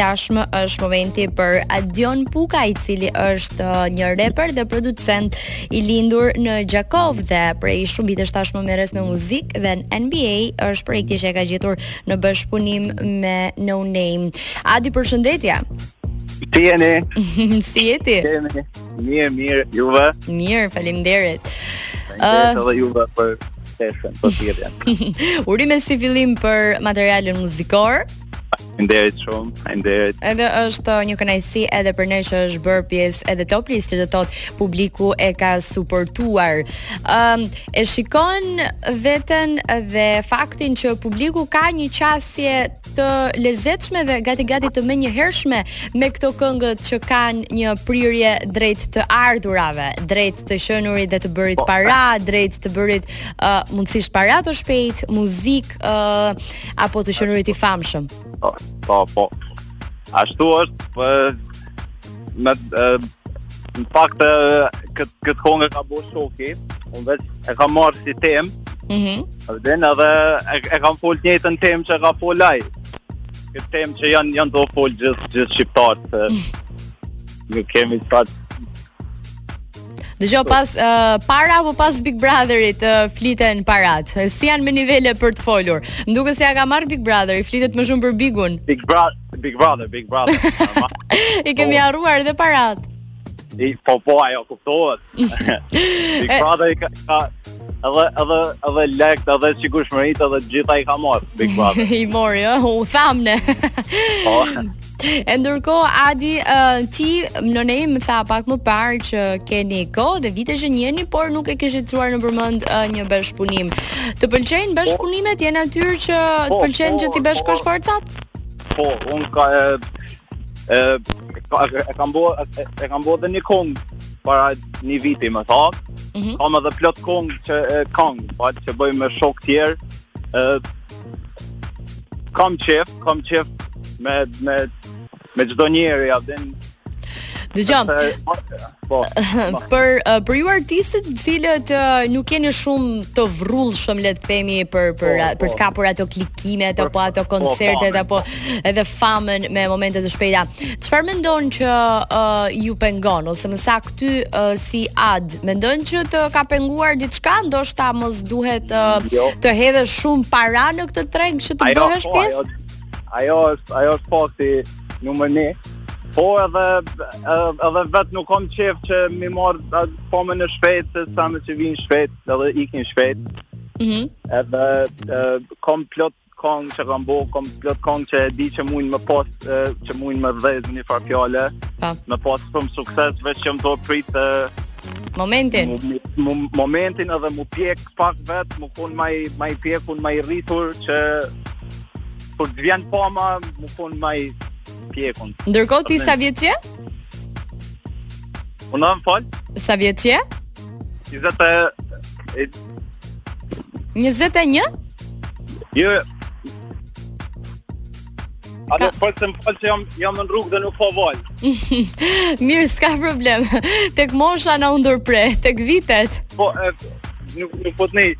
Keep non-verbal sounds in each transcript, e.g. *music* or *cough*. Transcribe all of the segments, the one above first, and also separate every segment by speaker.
Speaker 1: tashmë është momenti për Adion Puka, i cili është uh, një reper dhe producent i lindur në Gjakov dhe prej shumë vitesh tashmë merres me muzikë dhe në NBA është projekti që e ka gjetur në bashkëpunim me No Name. Adi, përshëndetje. *laughs*
Speaker 2: Ti jeni?
Speaker 1: si je ti?
Speaker 2: Jeni? Mirë, mirë, juve.
Speaker 1: Mirë, faleminderit.
Speaker 2: Ëh, edhe juve për sesën, për thirrjen.
Speaker 1: Urime si fillim për materialin muzikor.
Speaker 2: Faleminderit shumë. Faleminderit.
Speaker 1: Edhe është një kënaqësi edhe për ne që është bërë pjesë edhe top listë, do thotë publiku e ka suportuar. Ëm e shikon veten dhe faktin që publiku ka një qasje të lezetshme dhe gati gati të menjëhershme me këto këngët që kanë një prirje drejt të ardhurave, drejt të shënurit dhe të bërit para, drejt të bërit uh, mundësisht para të shpejt, muzik uh, apo të shënurit i famshëm.
Speaker 2: Po, po, po. Ashtu është, për me e, në fakt këtë kët këngë ka bërë shoki, unë vetë e kam marrë si temë,
Speaker 1: Mhm.
Speaker 2: vjen edhe e, e kam fol të njëjtën temë që ka fol ai. Këtë temë që janë janë do fol gjithë gjithë shqiptarët. se Nuk kemi sa
Speaker 1: Dëgjoj pas uh, para apo pas Big Brotherit uh, fliten parat. Si janë me nivele për të folur? Më duket se ja ka marr Big Brother, i flitet më shumë për Bigun.
Speaker 2: Big Brother, Big Brother, Big Brother. Ama,
Speaker 1: I kemi
Speaker 2: Po.
Speaker 1: harruar edhe parat. *laughs*
Speaker 2: i- po po ajo kuptohet. Big
Speaker 1: E-
Speaker 2: Brother i ka, ka edhe edhe edhe lekt, edhe sigurisht edhe gjitha i ka marrë Big
Speaker 1: *laughs*
Speaker 2: Brother.
Speaker 1: I mori, ë, u thamne. *laughs*
Speaker 2: Po.
Speaker 1: E ndërkohë Adi, uh, ti në ne më tha pak më parë që keni kohë dhe vite që njeni, por nuk e kishit çuar në përmend uh, një bashkëpunim. Të pëlqejnë bashkëpunimet? Je natyrë që të
Speaker 2: Po,
Speaker 1: pëlqen që
Speaker 2: po,
Speaker 1: ti bashkosh
Speaker 2: po.
Speaker 1: forcat?
Speaker 2: Po, unë ka e, e, ka, e kam bo e, e kam bo dhe një kong para një viti më tha.
Speaker 1: Mhm.
Speaker 2: Kam edhe plot kong që e, kong, pa që bëj me shok tjerë. E, kam qef, kam qef me me me çdo njeri ja vjen.
Speaker 1: Dëgjom,
Speaker 2: se- Po.
Speaker 1: për uh, për ju artistët të cilët uh, nuk jeni shumë të vrullshëm le të themi për për
Speaker 2: Po,
Speaker 1: a- për
Speaker 2: po.
Speaker 1: të kapur ato klikimet
Speaker 2: Për-
Speaker 1: apo ato
Speaker 2: po,
Speaker 1: koncertet
Speaker 2: famen.
Speaker 1: apo edhe famën me momente të shpejta. Çfarë mendon që uh, ju pengon ose më saktë ty uh, si ad? Mendon që të ka penguar diçka, ndoshta mos duhet uh,
Speaker 2: Jo.
Speaker 1: të hedhësh shumë para në këtë treg që të bëhesh
Speaker 2: po,
Speaker 1: pjesë?
Speaker 2: Ajo, ajo është ajo është fakti numër 1. Po edhe edhe- edhe vet nuk kam qef që mi marr atë pomën në shpejt, se sa më që vinë shpejt, edhe ikin shpejt.
Speaker 1: Mhm.
Speaker 2: Edhe e, kam plot kong që kam bo, kam plot kong që e di që mund më pas, e, që mund më dhezë në një farë fjale,
Speaker 1: Pa,
Speaker 2: më pas shumë sukses, veç që më do prit e,
Speaker 1: momentin.
Speaker 2: mu- mu- mu- momentin edhe mu pjek pak vetë, mu kon maj, maj pjekun, maj rritur që kur të vjen pama, mu kon maj pjekun.
Speaker 1: Ndërkohë ti sa vjeç je?
Speaker 2: Unë më falë,
Speaker 1: Sa vjeç je?
Speaker 2: 20 e, e,
Speaker 1: 21?
Speaker 2: jo, A do
Speaker 1: Ka-
Speaker 2: të falë se më falë që jam, jam në rrugë dhe nuk po valë.
Speaker 1: *laughs* Mirë, s'ka problem. *laughs* Tek mosha na u ndërpre, tek vitet.
Speaker 2: Po, e, nuk, nuk po të nej.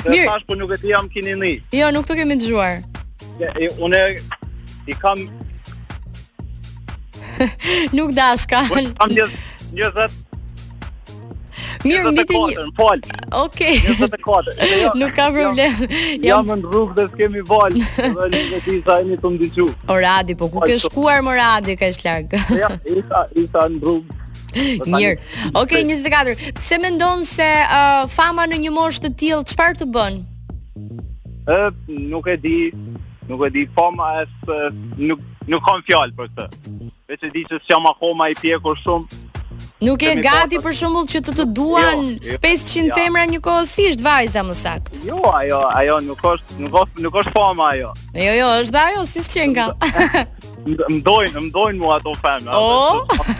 Speaker 2: Dhe
Speaker 1: Mirë.
Speaker 2: tash po nuk e ti jam kini nej.
Speaker 1: Jo, nuk të kemi dëgjuar.
Speaker 2: E, e, une i
Speaker 1: *laughs*
Speaker 2: kam,
Speaker 1: Nuk dashka. *laughs*
Speaker 2: unë kam njëz, njëzët,
Speaker 1: Mirë, mbi të një.
Speaker 2: 24, më falë,
Speaker 1: Okej. *laughs*
Speaker 2: 24. E, jo,
Speaker 1: Nuk ka problem.
Speaker 2: Jam
Speaker 1: Jam
Speaker 2: në rrugë dhe s'kemi
Speaker 1: *laughs*
Speaker 2: valë, dhe nuk e ti sa e një të më diqu.
Speaker 1: Oradi, po ku ke shkuar më Oradi kaq larg? *laughs*
Speaker 2: Ja, isa, isa në rrugë. dhe Po tani-
Speaker 1: Mirë. Okej, 24. Pse mendon se uh, fama në një moshë të tillë çfarë të bën?
Speaker 2: E, nuk e di, nuk e di, po ma e s- nuk, nuk kam fjalë për këtë. Veç e di që s'jam akoma i pjekur shumë,
Speaker 1: Nuk je
Speaker 2: Kemi
Speaker 1: gati
Speaker 2: pasur-
Speaker 1: për shembull që të të duan
Speaker 2: Jo, jo,
Speaker 1: 500
Speaker 2: ja.
Speaker 1: femra njëkohësisht vajza më sakt.
Speaker 2: jo, ajo, ajo nuk është, nuk është, nuk është fama ajo.
Speaker 1: Jo, jo, është dhe ajo, si s'qen ka.
Speaker 2: M- Mdojnë, mdojnë mua ato femra.
Speaker 1: O? Po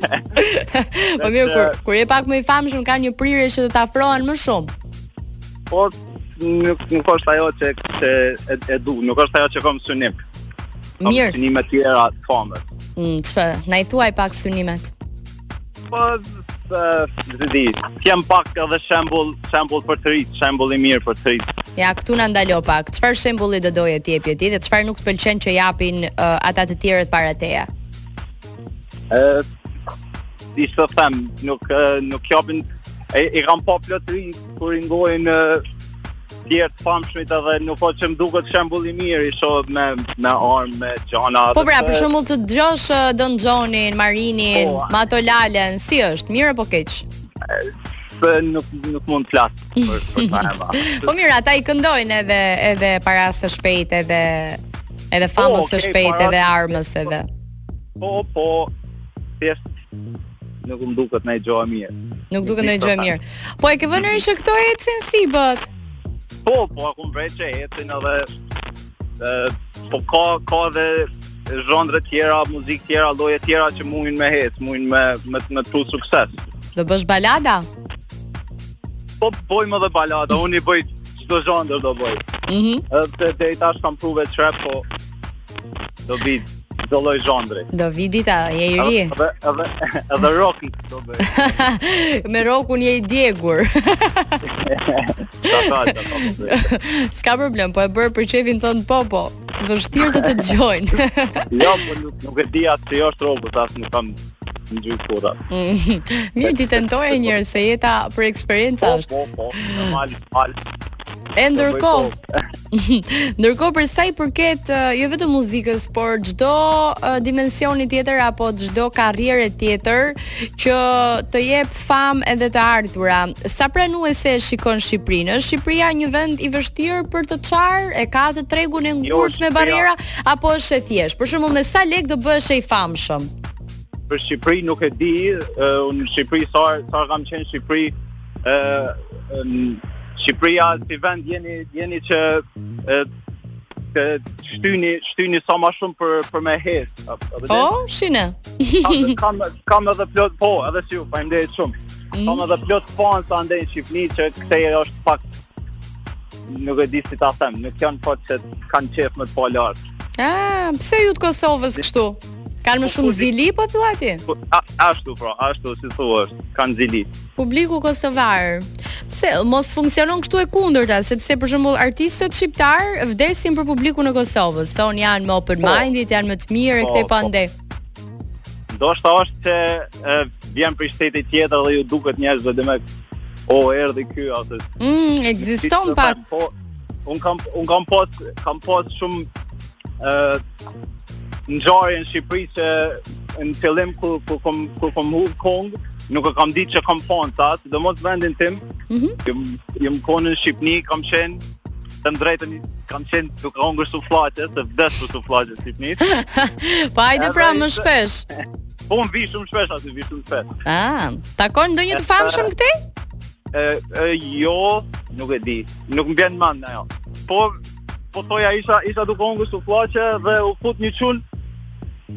Speaker 1: *laughs*
Speaker 2: Dhe
Speaker 1: mirë,
Speaker 2: që-
Speaker 1: kur, kur je pak më i famshëm ka një prirje që të të afrohen më shumë.
Speaker 2: Po nuk nuk është ajo që që e, e du, nuk është ajo që kam synim. Kam
Speaker 1: Mirë,
Speaker 2: synime të tjera të famës.
Speaker 1: mm, që, na i thuaj pak synimet.
Speaker 2: Po e, të di, kem pak edhe shembull, shembull për të rritë, shembull i mirë për të rritë.
Speaker 1: Ja, këtu na ndalo pak. Çfarë shembulli do doje ti jepje ti dhe çfarë nuk të pëlqen që japin uh, ata të tjerët para teja?
Speaker 2: Ë ishte të them, nuk e, nuk japin e, i kam pa plotëri kur i ngojnë e, tjerë të famshmit edhe nuk po që më duket shembull i mirë i shoh me me armë me gjana.
Speaker 1: Po
Speaker 2: edhe
Speaker 1: pra,
Speaker 2: pse-
Speaker 1: për shembull të dëgjosh uh, Don Johnin, Marinin,
Speaker 2: Po, a-
Speaker 1: Matolalen, si është? Mirë apo keq?
Speaker 2: se nuk nuk mund të flas për
Speaker 1: *laughs*
Speaker 2: për ta eva.
Speaker 1: Po mirë, ata i këndojnë edhe edhe para së shpejt edhe edhe famës
Speaker 2: Po, okej,
Speaker 1: së shpejt
Speaker 2: para-
Speaker 1: edhe armës edhe.
Speaker 2: Po po thjesht nuk më duket ndaj gjë e mirë.
Speaker 1: Nuk duket ndonjë gjë e
Speaker 2: Nuk
Speaker 1: mirë. Po e ke vënë ri që këto ecin si bët?
Speaker 2: Po po akum vret që ecin edhe e, po ka ka edhe zhondre tjera, muzikë tjera, lloje tjera që mundin me hec, mundin me me me të pru sukses.
Speaker 1: Do bësh balada?
Speaker 2: Po bëjmë edhe balada, unë i bëj çdo zhondër do bëj.
Speaker 1: Mhm.
Speaker 2: Edhe deri tash kam pruve trap, po do bëj çdo lloj zhondri.
Speaker 1: Do vi dita, je i ri.
Speaker 2: Edhe edhe edhe rock do bëj.
Speaker 1: *laughs* Me rokun je i djegur. *laughs*
Speaker 2: Qa ka, qa ka, po bëj.
Speaker 1: S'ka problem, po e bër për çefin tënd po po. Vështirë të të *laughs* dëgjojnë.
Speaker 2: Jo, po nuk, nuk e di atë se jo është robot, asë nuk kam në gjyë kura.
Speaker 1: Mhm. Mirë ti tentoje njërë se jeta për eksperjenca është.
Speaker 2: po, po, normal, normal.
Speaker 1: E
Speaker 2: Do bëj
Speaker 1: ndërkohë,
Speaker 2: po.
Speaker 1: ndërkohë për sa i përket uh, jo vetëm muzikës, por çdo uh, dimensioni tjetër apo çdo karriere tjetër që të jep famë edhe të ardhurë. Sa pranuese e shikon Shqipërinë? Është Shqipëria një vend i vështirë për të çarë? E ka të tregun e
Speaker 2: Jo,
Speaker 1: ngurtë me
Speaker 2: Shqipëria-
Speaker 1: barriera apo është e thjeshtë? Për shembull, me sa lek do bëhesh e i famshëm?
Speaker 2: Për Shqipëri nuk e di, uh, unë në Shqipëri, sa sa kam qenë në Shqipëri, uh, Shqipëria si vend jeni, jeni që uh, të shtyni, shtyni sa ma shumë për, për me hesë.
Speaker 1: O, shine.
Speaker 2: kam, kam, kam edhe plot, po, edhe si ju, faleminderit shumë. Kam edhe plot fanë sa ndej në Shqipëni që këtej është pak nuk e di si ta them, nuk janë po që kanë qef më të pa lartë.
Speaker 1: Ah, pse ju të Kosovës kështu? Kanë më shumë zili, po thua ti?
Speaker 2: Po, a- Ashtu pra, ashtu si thua është, kanë zili.
Speaker 1: Publiku kosovar. Pse mos funksionon kështu e kundërta, sepse për shembull artistët shqiptar vdesin për publikun e Kosovës. Thonë janë më open
Speaker 2: Po.
Speaker 1: minded, janë më të mirë e
Speaker 2: Po,
Speaker 1: këtej
Speaker 2: po.
Speaker 1: pandej.
Speaker 2: Ndoshta është që e, vjen për shtetit tjetër dhe ju duket njerëzve dhe me o erdhi ky ose
Speaker 1: Mm, ekziston
Speaker 2: Si të
Speaker 1: pak.
Speaker 2: them, Po, un kam un kam pas kam pas shumë ë ngjarje në Shqipëri që në fillim kur kur kam kur kam hub kong, nuk e kam ditë që kam fanta, sidomos vendin tim.
Speaker 1: Mhm.
Speaker 2: Jam jam konë në Shqipëni, kam qenë të më drejtën kam qenë duke hongër suflaqe, se vdes për suflaqe në Shqipëni.
Speaker 1: Po hajde
Speaker 2: Edhe
Speaker 1: pra
Speaker 2: i
Speaker 1: më
Speaker 2: se-
Speaker 1: shpesh.
Speaker 2: Po unë vi shumë shpesh aty, vi shumë shpesh.
Speaker 1: Ah, takon ndonjë të famshëm këtej? *laughs*
Speaker 2: E, e, jo, nuk e di. Nuk më vjen mend ajo. Po po thoja isha isha duke hongër suflaqe dhe u fut një çun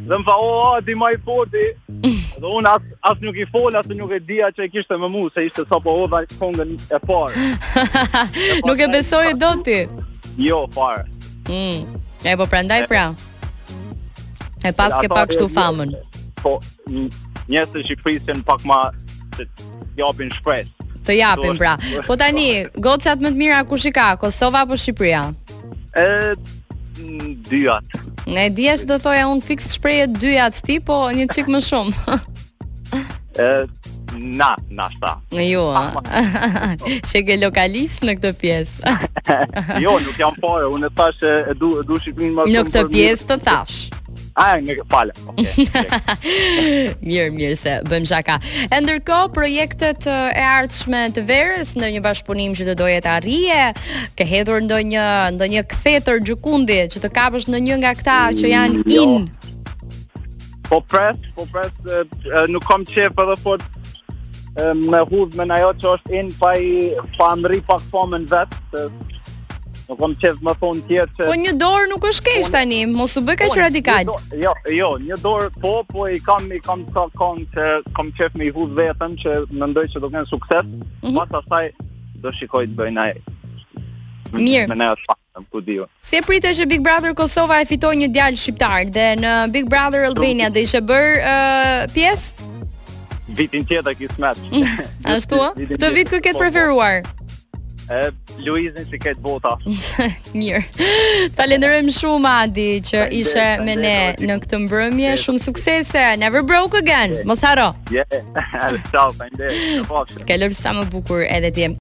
Speaker 2: dhe më tha o a di ma i
Speaker 1: *laughs*
Speaker 2: porti dhe unë as, as nuk i fol as nuk e dija që e kishte me mu se ishte sa po hodha kongën e parë
Speaker 1: Nuk e besoje dot ti.
Speaker 2: jo parë
Speaker 1: Mm. E po prandaj pra. E pas ke
Speaker 2: Ato
Speaker 1: pak kështu
Speaker 2: njerëz-
Speaker 1: famën.
Speaker 2: po n- njerëz në Shqipëri janë pak ma që japin shpresë
Speaker 1: Të japim pra.
Speaker 2: Duhet-
Speaker 1: Po tani, gocat më të mira kush i ka? Kosova apo Shqipëria?
Speaker 2: e n- dyat
Speaker 1: Ne dija që do thoja unë fix shprehje dyja të ti, po një çik më shumë. *laughs*
Speaker 2: e na na shta
Speaker 1: jo.
Speaker 2: Ah,
Speaker 1: a? *laughs* Që ke lokalist në këtë pjesë.
Speaker 2: jo nuk jam parë unë e thash e e du e du Shqipërinë më
Speaker 1: në
Speaker 2: shumë
Speaker 1: këtë
Speaker 2: *laughs* për mirë.
Speaker 1: pjesë të thash.
Speaker 2: a në falë
Speaker 1: *laughs*
Speaker 2: okay, okay.
Speaker 1: mirë, mirë se bëm shaka. E ndërkohë projektet e, e ardhshme të verës në një bashkëpunim që të doje të arrije, ke hedhur ndonjë ndonjë kthetër gjykundi që të kapësh në një nga këta që janë
Speaker 2: Jo.
Speaker 1: in.
Speaker 2: Po pres, po pres, e, e, nuk kam qef edhe fort e, me hudh me najo që është in pa i pa mri pak famën vet. se Nuk kam qef më thonë tjerë që
Speaker 1: Po një dorë nuk është keq tani, mos u bëj
Speaker 2: Po,
Speaker 1: kaq
Speaker 2: një
Speaker 1: radikal.
Speaker 2: do- Jo, jo, një dorë po, po i kam i kam sa kam që kam qef me i hudh vetëm që mendoj që do kenë sukses.
Speaker 1: Mhm.
Speaker 2: Pas asaj do shikoj të bëj naj.
Speaker 1: Mirë.
Speaker 2: Me najo të famën, ku diu.
Speaker 1: Se pritet që Big Brother Kosova e fitoi një djalë shqiptar dhe në Big Brother Albania do ishe bër uh, pjesë?
Speaker 2: Vitin tjetër kismet.
Speaker 1: Ashtu ë?
Speaker 2: *laughs* Vitin
Speaker 1: Këtë vit kë
Speaker 2: tjetër,
Speaker 1: ke *laughs*
Speaker 2: po, po.
Speaker 1: preferuar?
Speaker 2: e Luizin si këtë bota.
Speaker 1: Mm. Mirë. Falenderojmë shumë Adi që
Speaker 2: Falender-
Speaker 1: ishe me ne
Speaker 2: falender,
Speaker 1: në këtë mbrëmje.
Speaker 2: Yes.
Speaker 1: Shumë suksese. Never broke again. Mos haro.
Speaker 2: *laughs* Je, yeah. ciao, fajnderit. Kafshë.
Speaker 1: Kaloj sa më bukur edhe ti.